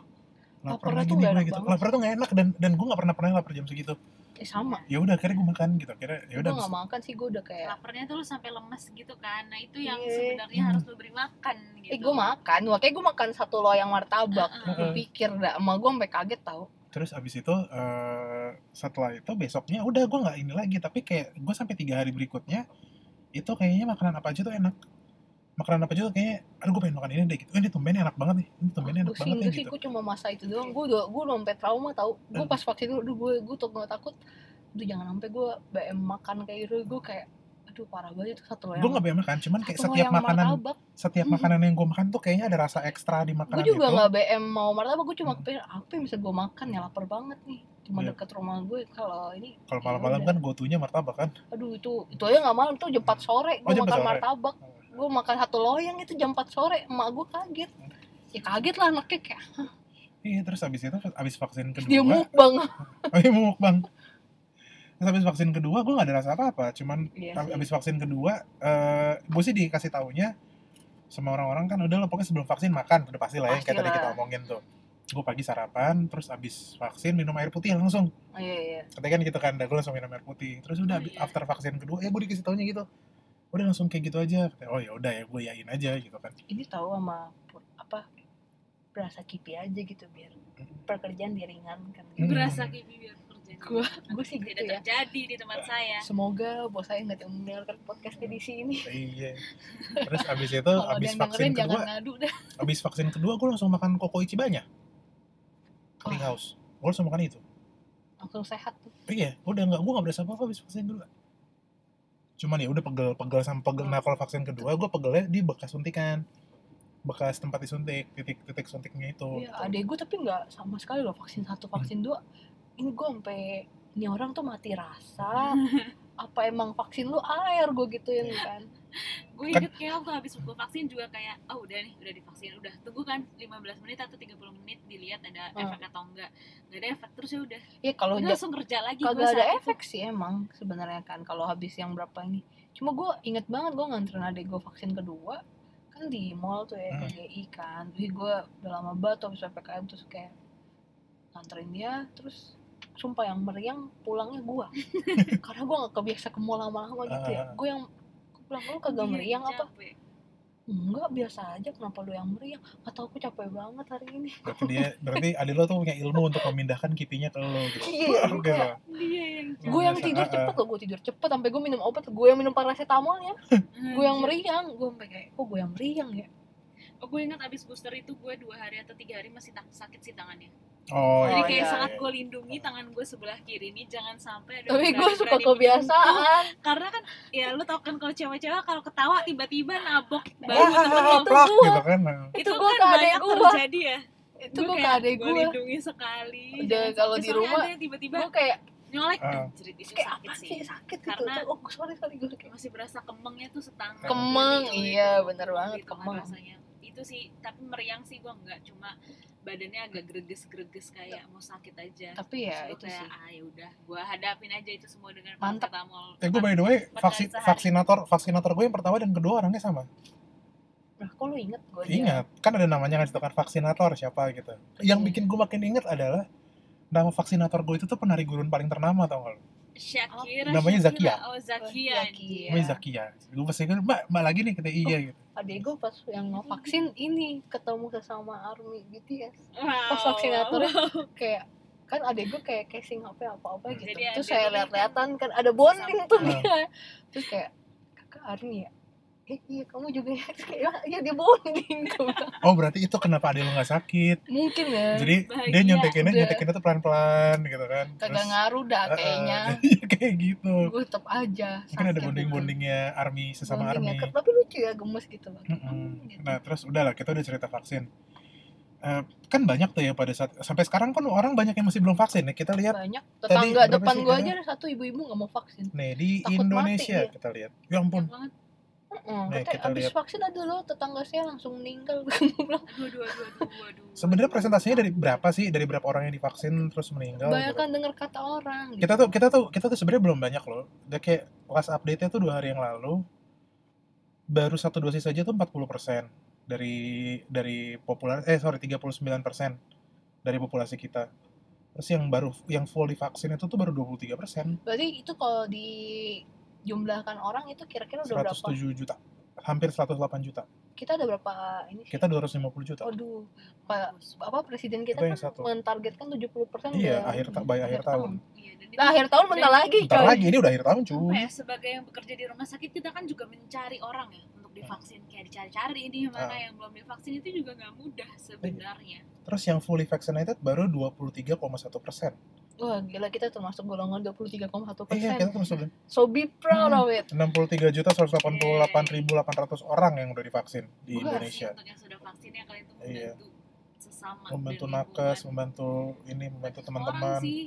lapar Laparnya lagi tuh nih gue nggak enak gitu banget. lapar tuh gak enak dan dan gue gak pernah pernah lapar jam segitu eh, sama ya udah akhirnya gue makan gitu akhirnya ya gue udah gak makan sih gue udah kayak laparnya tuh lu sampai lemes gitu kan nah itu yang Iya. sebenarnya Hmm. harus lu beri makan gitu eh gue makan makanya gue makan satu loyang martabak Ah, Heeh. gue pikir dah emak gue sampai kaget tau terus abis itu eh, setelah itu besoknya udah gue nggak ini lagi tapi kayak gue sampai tiga hari berikutnya itu kayaknya makanan apa aja tuh enak makanan apa aja tuh kayaknya aduh gue pengen makan ini deh gitu ini tumben enak banget nih ini tumben enak gue sih banget nih enggak sih gitu gue cuma masa itu doang gue udah gue sampai trauma tau gue Hmm. pas vaksin dulu gue gue tuh gak takut aduh jangan sampai gue BM makan kayak gitu gue kayak aduh parah banget itu satu loyang gue nggak pengen makan cuman kayak satu setiap loyang makanan martabak setiap makanan yang gue makan tuh kayaknya ada rasa ekstra di gue makanan gitu. juga itu nggak BM mau martabak gue cuma Hmm. kepikiran "Ah, apa yang bisa gue makan ya lapar banget nih cuma Iya. deket rumah gue kalau ini kalau malam-malam kan gotunya martabak kan aduh itu itu aja nggak malam tuh jam 4 sore Oh, gue jam 4 makan sore. martabak gue makan satu loyang itu jam 4 sore emak gue kaget ya kaget lah anaknya kayak iya terus abis itu abis vaksin kedua dia mukbang oh iya mukbang terus abis vaksin kedua gue nggak ada rasa apa-apa cuman Iya Ab- sih. abis vaksin kedua eh gue sih dikasih taunya sama orang-orang kan udah lo pokoknya sebelum vaksin makan udah pasti lah ya kayak tadi Pastilah. kita omongin tuh gue pagi sarapan terus abis vaksin minum air putih langsung Oh, iya iya katanya kan gitu kan gue langsung minum air putih terus udah Oh, abi- iya. after vaksin kedua ya gue dikasih taunya gitu udah langsung kayak gitu aja Katanya, oh ya udah ya gue yain aja gitu kan ini tahu sama pur- apa berasa kipi aja gitu biar pekerjaan diringankan gitu. Hmm. berasa kayak gitu biar kerjaan Gua- gue sih gitu ya tidak terjadi di tempat saya semoga bos saya nggak mendengarkan podcast edisi ini iya terus abis itu kalau ada Eh, abis yang vaksin dengerin jangan kedua ngadu dah abis vaksin kedua gue langsung makan koko ichi banyak clean Wah, house gue langsung makan itu langsung sehat tuh Iya, udah nggak, gue nggak berasa apa-apa habis vaksin kedua. Hmm. Cuman ya udah pegel, pegel sama pegel. Nah kalau vaksin kedua, gue pegelnya di bekas suntikan. bekas tempat disuntik titik-titik suntiknya itu Gitu. Iya, adek gue tapi nggak sama sekali loh vaksin satu vaksin dua. Ini gue sampai ini orang tuh mati rasa. Apa emang vaksin lu air gue gituin kan? gue Kan- inget kayak waktu habis gue vaksin juga kayak oh udah nih udah divaksin udah tunggu kan 15 menit atau 30 menit dilihat ada Hmm. efek atau enggak nggak ada efek terus ya udah Iya kalau Udah ja- langsung kerja lagi gue kagak saat ada eh, itu. efek sih emang sebenarnya kan kalau habis yang berapa ini. Cuma gue inget banget gue nganterin adek gue vaksin kedua kan di mall tuh ya Hmm. KGI kan. Jadi gue udah lama banget tuh habis ppkm terus kayak nganterin dia terus sumpah yang meriang pulangnya gua karena gua nggak kebiasa ke mall lama-lama gitu ya Ah. gue yang "Kok pulang lu kagak Iya, meriang apa capek. enggak biasa aja kenapa lu yang meriang atau aku capek banget hari ini berarti dia berarti adik lo tuh punya ilmu untuk memindahkan kipinya ke lo gitu Iya, Oke iya. lo. dia yang Yang gue yang biasa, ah, tidur ah. cepet loh gue tidur cepet sampai gue minum obat gue yang minum paracetamolnya Hmm, gue Iya. yang meriang gue sampai kayak kok gue yang meriang ya oh, gue ingat abis booster itu gue dua hari atau tiga hari masih tak- sakit sih tangannya oh jadi iya. kayak iya, sangat iya. gue lindungi tangan gue sebelah kiri ini jangan sampai ada tapi gue berani-berani suka menyentuh. kebiasaan karena kan ya lu tau kan kalau cewek-cewek kalau ketawa tiba-tiba nabok Wah, bahu temen lu. ah, plak gua. gitu kan nah. Itu Nah, gua ke adek banyak gua. terjadi ya itu gue ke kayak, adek gua gue lindungi sekali Udah, Jangan kalau sampai di soalnya rumah, ada yang tiba-tiba gue kayak nyolek Ah. anjrit itu kayak sakit apa Nah, sih sih sakit gitu Karena- oh sorry sorry gue kayak masih berasa kemengnya tuh setangkap Kemeng, Jadi, iya, itu bener banget, gitu kan kemeng. rasanya. itu sih tapi meriang sih gua nggak cuma badannya agak greges-greges kayak mau sakit aja tapi ya itu Terus gua kayak, sih ah ya udah gua hadapin aja itu semua dengan Mantap. paracetamol eh gue by the way Makan vaksin sehari. vaksinator vaksinator gue yang pertama dan kedua orangnya sama nah kok lu inget gue Ingat, kan ada namanya kan di situ kan vaksinator siapa gitu. Iya. Yang bikin gue makin inget adalah nama vaksinator gue itu tuh penari gurun paling ternama tau gak lo? Shakira Namanya Shakira. Zakia. oh Zakia Zakia. anjir. Iya. Namanya Zakia. Gue pasti kan, mbak, mbak lagi nih Oh. kata iya gitu. adek gue pas yang mau vaksin ini ketemu sesama army BTS wow. pas vaksinatornya kayak kan adek gue kayak casing HP apa-apa Hmm. gitu Jadi terus adek saya ini lihat-lihatan kan ada bonding sesama tuh teman. dia terus kayak kakak Arni ya eh, iya kamu juga ya Terus kayak "Ah, iya dia bonding Gua bilang, Oh berarti itu kenapa ada lo gak sakit. mungkin ya Jadi Bahagia, dia nyuntikinnya, udah. nyuntikinnya tuh pelan-pelan gitu kan. kagak ngaruh dah eh, eh, kayaknya iya, kayak gitu. gue tetap aja Mungkin Ya kan ada sakit bonding-bondingnya army gitu. sesama Bonding ya, army. kan. tapi lucu ya gemes gitu loh Mm-mm. gitu. Nah terus udahlah kita udah cerita vaksin. Eh, kan banyak tuh ya pada saat sampai sekarang kan orang banyak yang masih belum vaksin ya kita lihat banyak berapa tetangga depan sih gue ada? aja ada satu ibu-ibu nggak mau vaksin nih di Takut Indonesia mati dia. kita lihat ya ampun Banyak banget Heeh, Nih, kata, Nah, kita abis lihat. vaksin ada loh tetangga saya langsung meninggal Gua bilang, aduh aduh aduh aduh aduh sebenarnya presentasinya dari berapa sih dari berapa orang yang divaksin terus meninggal banyak gitu. kan denger kata orang gitu. kita tuh kita tuh kita tuh sebenarnya belum banyak loh udah kayak last update nya tuh dua hari yang lalu baru satu dosis aja tuh 40 dari dari populer eh sorry 39 dari populasi kita terus yang baru yang full divaksin itu tuh baru 23 persen Berarti itu kalau dijumlahkan orang itu kira-kira udah berapa? 107 juta hampir 108 juta Kita ada berapa ini sih? kita 250 juta Aduh, Pak- apa presiden Itu kita yang kan satu. mentargetkan 70% iya dari- akhir ta- by akhir tahun Iya, dan itu- Nah, akhir tahun bentar lagi, bentar coy. lagi ini udah akhir tahun apa cuy ya sebagai yang bekerja di rumah sakit kita kan juga mencari orang ya untuk Iya. divaksin kayak dicari-cari ini mana Ah. yang belum divaksin itu juga nggak mudah Iya. sebenarnya Terus yang fully vaccinated baru 23,1 persen. Wah, gila kita termasuk golongan 23,1%. Iya, kita terus udah So be proud Hmm. of it. 63 juta 188.800 orang yang udah divaksin di Wah, Terima kasih Indonesia. untuk yang sudah vaksin ya kalian tuh Iya. membantu sesama dan Membantu lingkungan. nakes, membantu ini, membantu orang teman-teman. sih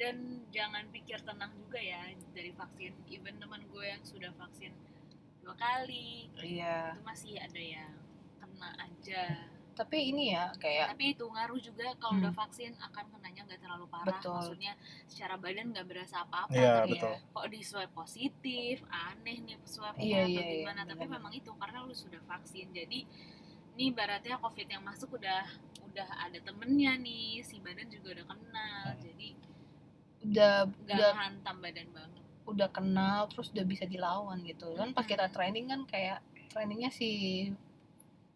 dan jangan pikir tenang juga ya dari vaksin even teman gue yang sudah vaksin dua kali Iya. itu masih ada yang kena aja Tapi ini ya kayak tapi itu ngaruh juga kalau Hmm. udah vaksin akan kenanya nggak terlalu parah Betul. maksudnya secara badan nggak berasa apa-apa Iya, Iya. betul. kok di swab positif aneh nih swab Iya, atau iya, iya, gimana tapi benar-benar. memang itu karena lu sudah vaksin jadi ini baratnya covid yang masuk udah udah ada temennya nih si badan juga udah kenal Hmm. jadi udah nggak udah hantam badan banget Hmm. udah kenal terus udah bisa dilawan gitu. Kan pas kita training kan kayak trainingnya si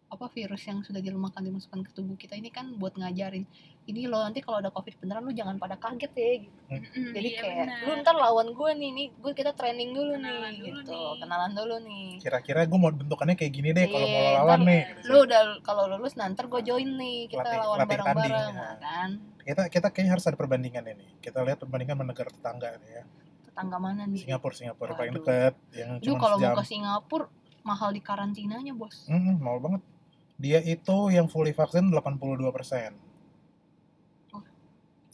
apa virus yang sudah dirumahkan dimasukkan ke tubuh kita ini kan buat ngajarin ini loh nanti kalau ada covid beneran lu jangan pada kaget ya gitu. Mm-mm, jadi iya kayak benar. lu ntar lawan gue nih nih gue kita training dulu Kenalan nih dulu gitu nih. kenalan dulu nih Kira-kira gue mau bentukannya kayak gini deh kalau mau Iya, lawan ntar nih. lu udah kalau lulus nanti gue join nih kita Latih- lawan latih bareng-bareng tanding, ya. nah, kan Kita kita kayaknya harus ada perbandingan ini. Kita lihat perbandingan sama negara tetangga nih ya. tetangga mana nih Singapura, Singapura yang paling Waduh. dekat yang lu cuma kalau sejam. mau ke Singapura mahal di karantinanya bos Mm, mahal banget. Dia itu yang fully vaksin 82 Oh.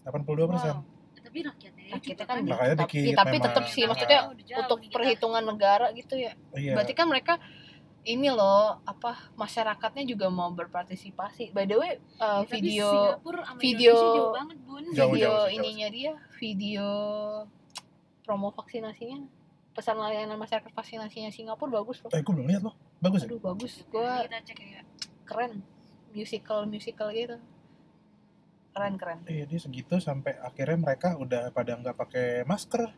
82 Wow. Tapi rakyatnya ya Rakyatnya juga kan kan. Iya, Makanya Tapi- dikit tapi memang. tetep sih, Nah, maksudnya Udah jauh untuk nih kita. perhitungan negara gitu ya Iya. berarti kan mereka ini loh apa masyarakatnya juga mau berpartisipasi by the way uh, Ya, tapi video Singapura sama video- Indonesia jauh banget bun Jauh. video sih, jauh ininya dia video promo vaksinasinya pesan layanan masyarakat vaksinasinya Singapura bagus loh Eh, gue belum lihat loh. Bagus ya? aduh bagus Nanti gua kita cek ya keren musical musical gitu keren keren Iya, dia segitu sampai akhirnya mereka udah pada nggak pakai masker.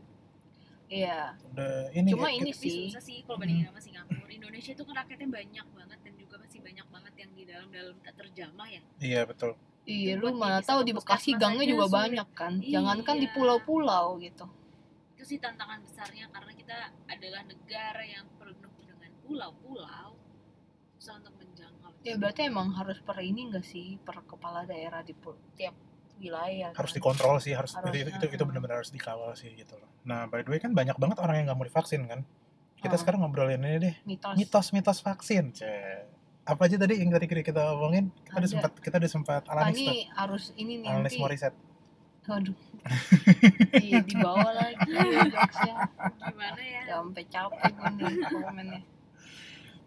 iya Udah ini. Cuma ya, ini tapi sih. Hmm. susah sih kalau bandingin sama Singapura Indonesia itu kan rakyatnya banyak banget dan juga masih banyak banget yang di dalam-dalam tak terjamah ya Iya, betul. iya Buat lu mana bisa tahu di ke Bekasi puskesmas gangnya aja juga sulit. banyak kan jangankan di Iya. pulau-pulau gitu itu sih tantangan besarnya karena kita adalah negara yang penuh dengan pulau-pulau susah untuk menjangkau ya berarti emang harus per ini enggak sih per kepala daerah di pul- tiap wilayah Harus kan? dikontrol sih, harus, Harus, itu itu, itu uh-uh. benar-benar harus dikawal sih gitu loh. Nah, by the way kan banyak banget orang yang nggak mau divaksin kan. Kita Uh-uh. sekarang ngobrolin ini deh, mitos, mitos-mitos vaksin. Cek. Apa aja tadi yang tadi kita omongin? Kita udah Ada. sempat kita udah sempat Ah, alanis tuh. ini harus ini nih Alanis nanti Morissette. aduh di, dibawa lagi jokesnya gimana ya udah sampai capek gue nih komennya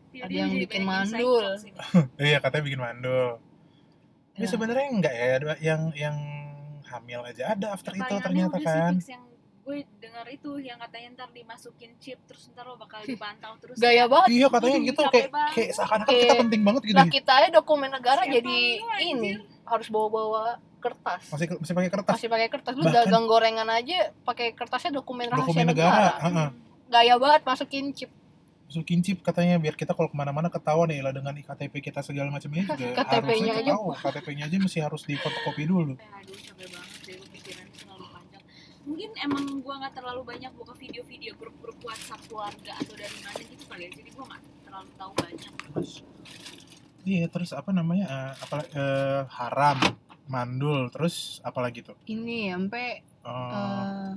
Tiba-tiba Ada yang jadi bikin banyak inside mandul. jokes ini. Iya katanya bikin mandul. Tapi Ya. sebenarnya enggak ya, ada- yang yang hamil aja ada after itu Tayangannya ternyata udah sih kan. fix yang gue dengar itu yang katanya ntar dimasukin chip terus ntar lo bakal dipantau terus ya. gaya banget Iya katanya Aduh, gitu capek kayak banget. kayak seakan-akan Kayak- kita penting banget gitu. lah ya. kita aja dokumen negara Siapa jadi lu, anjir? ini harus bawa-bawa kertas Masih masih pakai kertas masih pakai kertas lu Bahkan- dagang gorengan aja pakai kertasnya dokumen rahasia dokumen ya, negara. negara, heeh. Hmm. gaya banget masukin chip masukin chip katanya biar kita kalau kemana-mana ketahuan ya lah dengan KTP kita segala macamnya juga harusnya KTP-nya aja. tahu KTP-nya aja mesti harus dikopi dulu. Eh, aduh capek banget deh gue pikiran terlalu panjang mungkin emang gue nggak terlalu banyak buka video-video grup-grup WhatsApp keluarga atau dari mana gitu kali ya jadi gue nggak terlalu tahu banyak Iya terus apa namanya eh, apalagi eh, haram mandul terus apalagi tuh ini sampai Eh, eh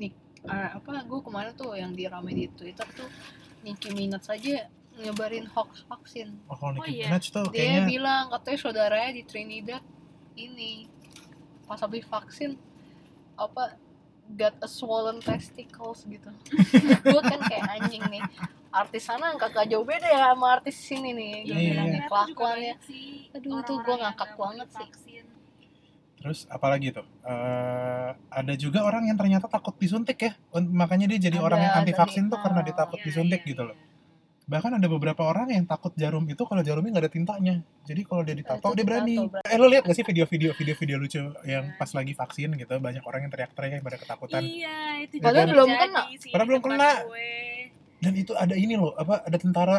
nik eh, apa gue kemarin tuh yang dirame di Twitter tuh Nicki Minaj aja nyebarin hoax vaksin oh, kalau Nicki oh iya. Minaj tuh dia kayaknya bilang katanya saudaranya di Trinidad ini pas habis vaksin apa got a swollen testicles gitu gue kan kayak anjing nih artis sana kagak jauh beda ya sama artis sini nih Iya, gue Iya. bilang nih ternyata juga kelakuannya banyak sih ya. Aduh, tuh orang-orang gua yang ngakak nggak mau banget sih. divaksin. Terus apalagi tuh? Eh ada juga orang yang ternyata takut disuntik ya. Un- Makanya dia jadi Ada, orang yang anti vaksin tadi, tuh karena eh, dia takut Iya, disuntik iya, gitu loh. iya. Bahkan ada beberapa orang yang takut jarum itu kalau jarumnya nggak ada tintanya. Jadi kalau dia ditato itu dia berani. ditato, berani. Eh lo lihat gak sih video-video video-video lucu yang Iya. pas lagi vaksin gitu banyak orang yang teriak-teriak yang pada ketakutan. Iya, itu Padahal juga belum terjadi kena. Iya, sih Padahal di belum tempat kena. gue. Dan itu ada ini loh, apa ada tentara.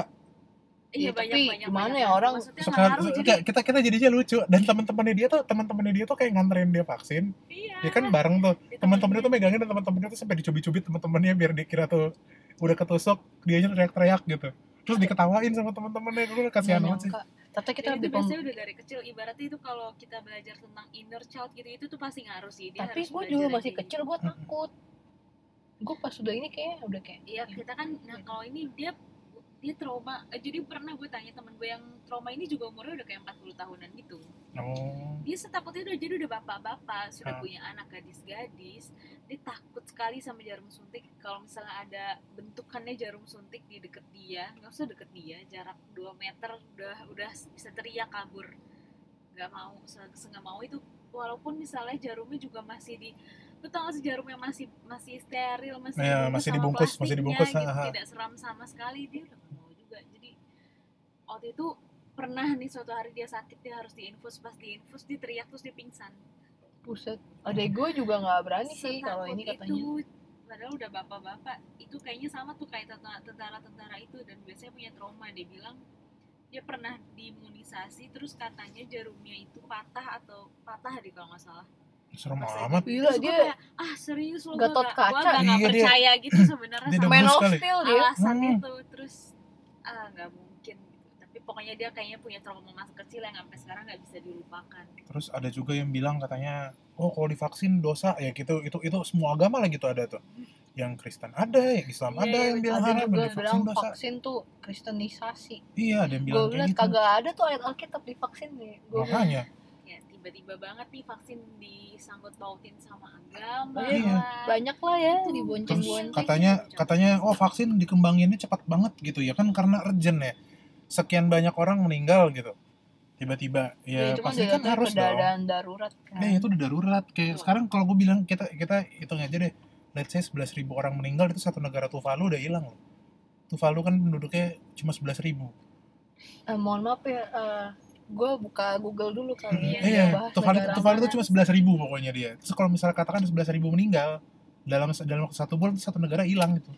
Iya, Ya, tapi banyak banyak. gimana banyak. ya orang Maksudnya Sekal- ngaruh jadi. kita, kita kita jadinya lucu dan teman-temannya dia tuh teman-temannya dia tuh kayak nganterin dia vaksin. Iya. Dia kan bareng tuh. Di teman-temannya tuh megangin dan teman-temannya tuh sampai dicubit-cubit teman-temannya biar dikira tuh udah ketusuk dia aja teriak-teriak gitu terus diketawain sama teman-temannya gue kasihan Nggak banget sih nyangka. Tapi kita Jadi lebih itu pem- biasanya udah dari kecil ibaratnya itu kalau kita belajar tentang inner child gitu itu tuh pasti ngaruh sih Dia tapi harus gue belajar dulu yang masih kayak gitu. kecil gue takut gue pas sudah ini kayak udah kayak Iya kita kan nah kalau ini dia dia trauma eh, jadi pernah gue tanya temen gue yang trauma ini juga umurnya udah kayak 40 tahunan gitu oh dia setakutnya udah jadi udah bapak-bapak sudah Ah. punya anak gadis-gadis dia takut sekali sama jarum suntik kalau misalnya ada bentukannya jarum suntik di deket dia nggak usah deket dia jarak 2 meter udah udah bisa teriak kabur nggak mau se- se nggak mau itu walaupun misalnya jarumnya juga masih di lu tau gak sih jarumnya masih masih steril masih Iya, masih sama dibungkus, masih plastiknya dibungkus, gitu, ha, ha. tidak seram sama sekali dia udah nggak mau juga jadi waktu itu pernah nih suatu hari dia sakit dia harus diinfus pas diinfus dia teriak terus dia pingsan buset adek gue juga nggak berani sih kalau Setakut ini katanya itu, padahal udah bapak-bapak itu kayaknya sama tuh kayak tenta- tentara-tentara itu dan biasanya punya trauma dia bilang dia pernah diimunisasi terus katanya jarumnya itu patah atau patah deh kalau nggak salah serem Pas lagi- amat Gila, Terus gua dia kayak, ah serius lo gatot gak, gua kaca. gak, gak Iya, dia- percaya gitu sebenarnya dia sama demen man of sekali. steel dia alasan Hmm. itu terus ah nggak mungkin gitu tapi pokoknya dia kayaknya punya trauma masa kecil yang sampai sekarang nggak bisa dilupakan terus ada juga yang bilang katanya oh kalau divaksin dosa ya gitu itu itu semua agama lah gitu ada tuh yang Kristen ada yang Islam ada yang bilang Iya, ada haram juga yang bilang divaksin dosa vaksin tuh kristenisasi iya ada yang gue bilang kayak liat gitu kagak ada tuh ayat alkitab di vaksin nih gue makanya ya tiba-tiba banget nih vaksin disangkut pautin sama agama Iya. lah. banyak lah ya Terus terus dibonceng-bonceng katanya katanya oh vaksin dikembanginnya cepat banget gitu ya kan karena urgent ya sekian banyak orang meninggal gitu tiba-tiba ya, itu pasti juga kan harus dong keadaan darurat kan Nah, itu udah darurat. Iya. Kayak Betul. sekarang kalau gue bilang kita kita hitung aja deh. Let's say 11 ribu orang meninggal itu satu negara Tuvalu udah hilang loh. Tuvalu kan penduduknya cuma 11 ribu. Eh, mohon maaf ya gue buka Google dulu kali ya Iya, Iya, bahas Tuvalu negara kan? Tuvalu itu mana. cuma 11 ribu pokoknya dia. Terus kalau misalnya katakan 11 ribu meninggal dalam dalam waktu satu bulan satu negara hilang gitu.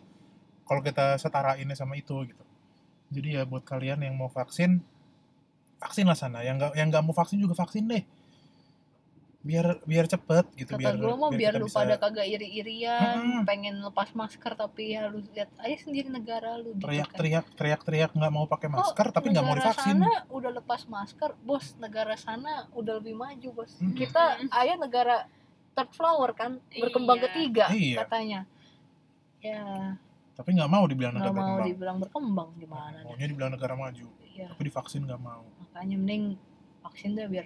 Kalau kita setarainnya sama itu gitu. Jadi ya buat kalian yang mau vaksin vaksin lah sana. Yang nggak yang nggak mau vaksin juga vaksin deh. Biar biar cepet gitu kata gue mau biar kita lu bisa- pada kagak iri-irian Mm-mm. pengen lepas masker tapi ya lu lihat aja sendiri negara lu gitu kan. teriak-teriak teriak-teriak nggak mau pakai masker tapi nggak mau negara divaksin sana udah lepas masker bos negara sana udah lebih maju bos Mm-mm. kita ayah negara third flower kan berkembang Iya. ketiga Iya. katanya ya tapi nggak mau dibilang negara nggak mau berkembang dibilang berkembang gimana dah. maunya dibilang negara maju Iya, tapi divaksin nggak mau makanya mending vaksin dah biar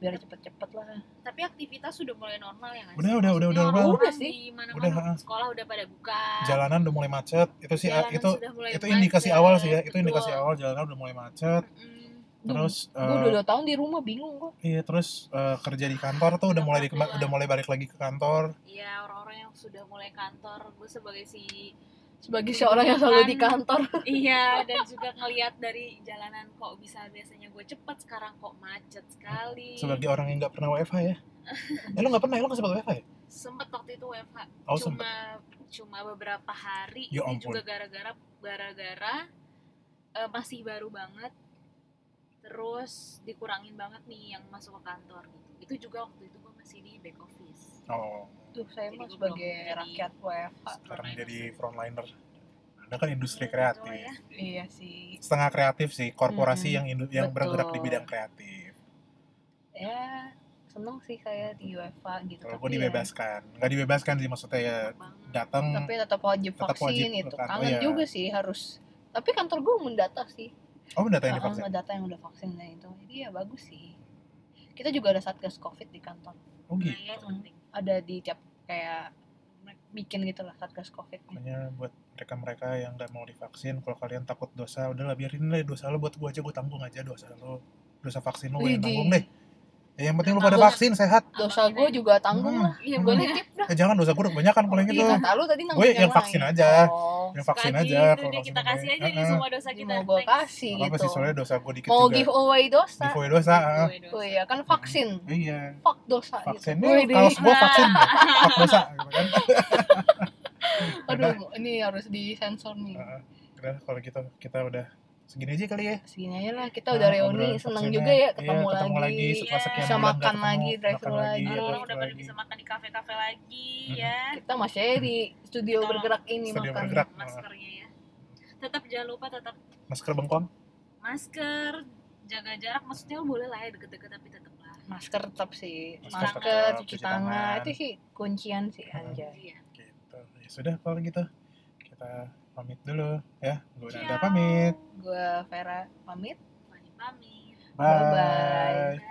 biar cepet-cepet lah tapi aktivitas sudah mulai normal ya nggak Udah, sih? udah, udah, Maksudnya udah normal. orang-orang Udah sih. di mana-mana, Udah, ha. sekolah udah pada buka Ah. jalanan udah mulai macet itu sih ah, jalanan itu sudah mulai itu indikasi macet, awal sih ya itu betul. indikasi awal jalanan udah mulai macet Mm-mm. terus gue eh, udah dua tahun di rumah bingung gue iya terus eh, kerja di kantor tuh udah mulai di- Tempat udah mulai balik lagi ke kantor Iya orang-orang yang sudah mulai kantor gue sebagai si sebagai seorang yang selalu di Kan. kantor iya dan juga ngelihat dari jalanan kok bisa biasanya gue cepet sekarang kok macet Iya. sekali sebagai orang yang nggak pernah WFH ya eh lo nggak pernah lo nggak sempat WFH ya sempet waktu itu WFH oh sempat cuma cuma beberapa hari Ya ini ampun. juga gara-gara gara-gara eh, masih baru banget terus dikurangin banget nih yang masuk ke kantor gitu itu juga waktu itu gue masih di back office oh Duh, saya Jadi mah gua sebagai belum jadi- rakyat WFH. sekarang Frontliner jadi sih. frontliner anda kan industri Iya, kreatif betul ya. Iya sih. setengah kreatif sih korporasi Mm-mm. yang indu- yang bergerak di Betul. bidang kreatif Ya, seneng sih saya di WFH gitu. kalau gue tapi ya- dibebaskan nggak dibebaskan sih maksudnya ya Enak banget. datang tapi tetap wajib Tetap vaksin wajib itu. kan, Kangen iya. juga sih harus. Tapi kantor gue mendata sih. oh data yang Heeh, divaksin ngedata yang udah vaksin dan itu. Jadi ya bagus sih. Kita juga ada satgas COVID di kantor. oh Nah, gitu iya, itu penting. Ada di tiap kayak bikin gitu lah satgas COVID. makanya buat mereka-mereka yang nggak mau divaksin kalau kalian takut dosa udahlah biarin deh dosa lo buat gue aja gue tanggung aja dosa lo dosa vaksin lo gue yang Widih. tanggung deh ya, yang penting lo Tanggung. pada vaksin sehat Dosa gue juga tanggung Hmm. lah. iya Hmm. Gue boleh nitip dah. eh, jangan dosa gue udah kebanyakan kalau yang Ih, itu kata lu tadi nanggung yang vaksin lain. aja. Oh. yang vaksin Tadi aja kalau itu dia vaksin kita kasih aja nih Heeh. semua dosa Jadi kita mau gue Thanks. kasih Nggak apa-apa gitu. sih soalnya dosa gue dikit Mau juga giveaway dosa. giveaway dosa heeh. Giveaway dosa. Oh iya kan vaksin. iya Fuck dosa vaksin gitu. nih Wih, kalau deh. gue vaksin fuck dosa gitu kan Aduh, ini harus disensor nih. Heeh. udah kalau gitu kita udah segini aja kali ya Segini aja lah, kita udah Nah, obrolan reuni, seneng vaksinnya. juga ya Iya, ketemu, ketemu lagi. lagi setelah Iya. sekian Bisa bulan nggak makan ketemu, lagi, drive-thru makan lagi. iya, orang-orang drive-thru udah pada lagi. bisa makan di kafe-kafe lagi Mm-mm. ya Kita masih aja di studio Kita bergerak ini Iya, studio makan. bergerak. maskernya ya tetap jangan lupa tetap masker bengkong masker jaga jarak maksudnya lo boleh lah ya deket-deket tapi tetap lah Masker tetap sih, Masker masker, tetap, cuci cuci tangan, tangan. itu sih kuncian sih Hmm. anjay. Iya. gitu ya sudah kalau gitu kita pamit dulu ya gue Ciao. udah pamit Gue Vera pamit. Fani pamit bye, Bye-bye. bye.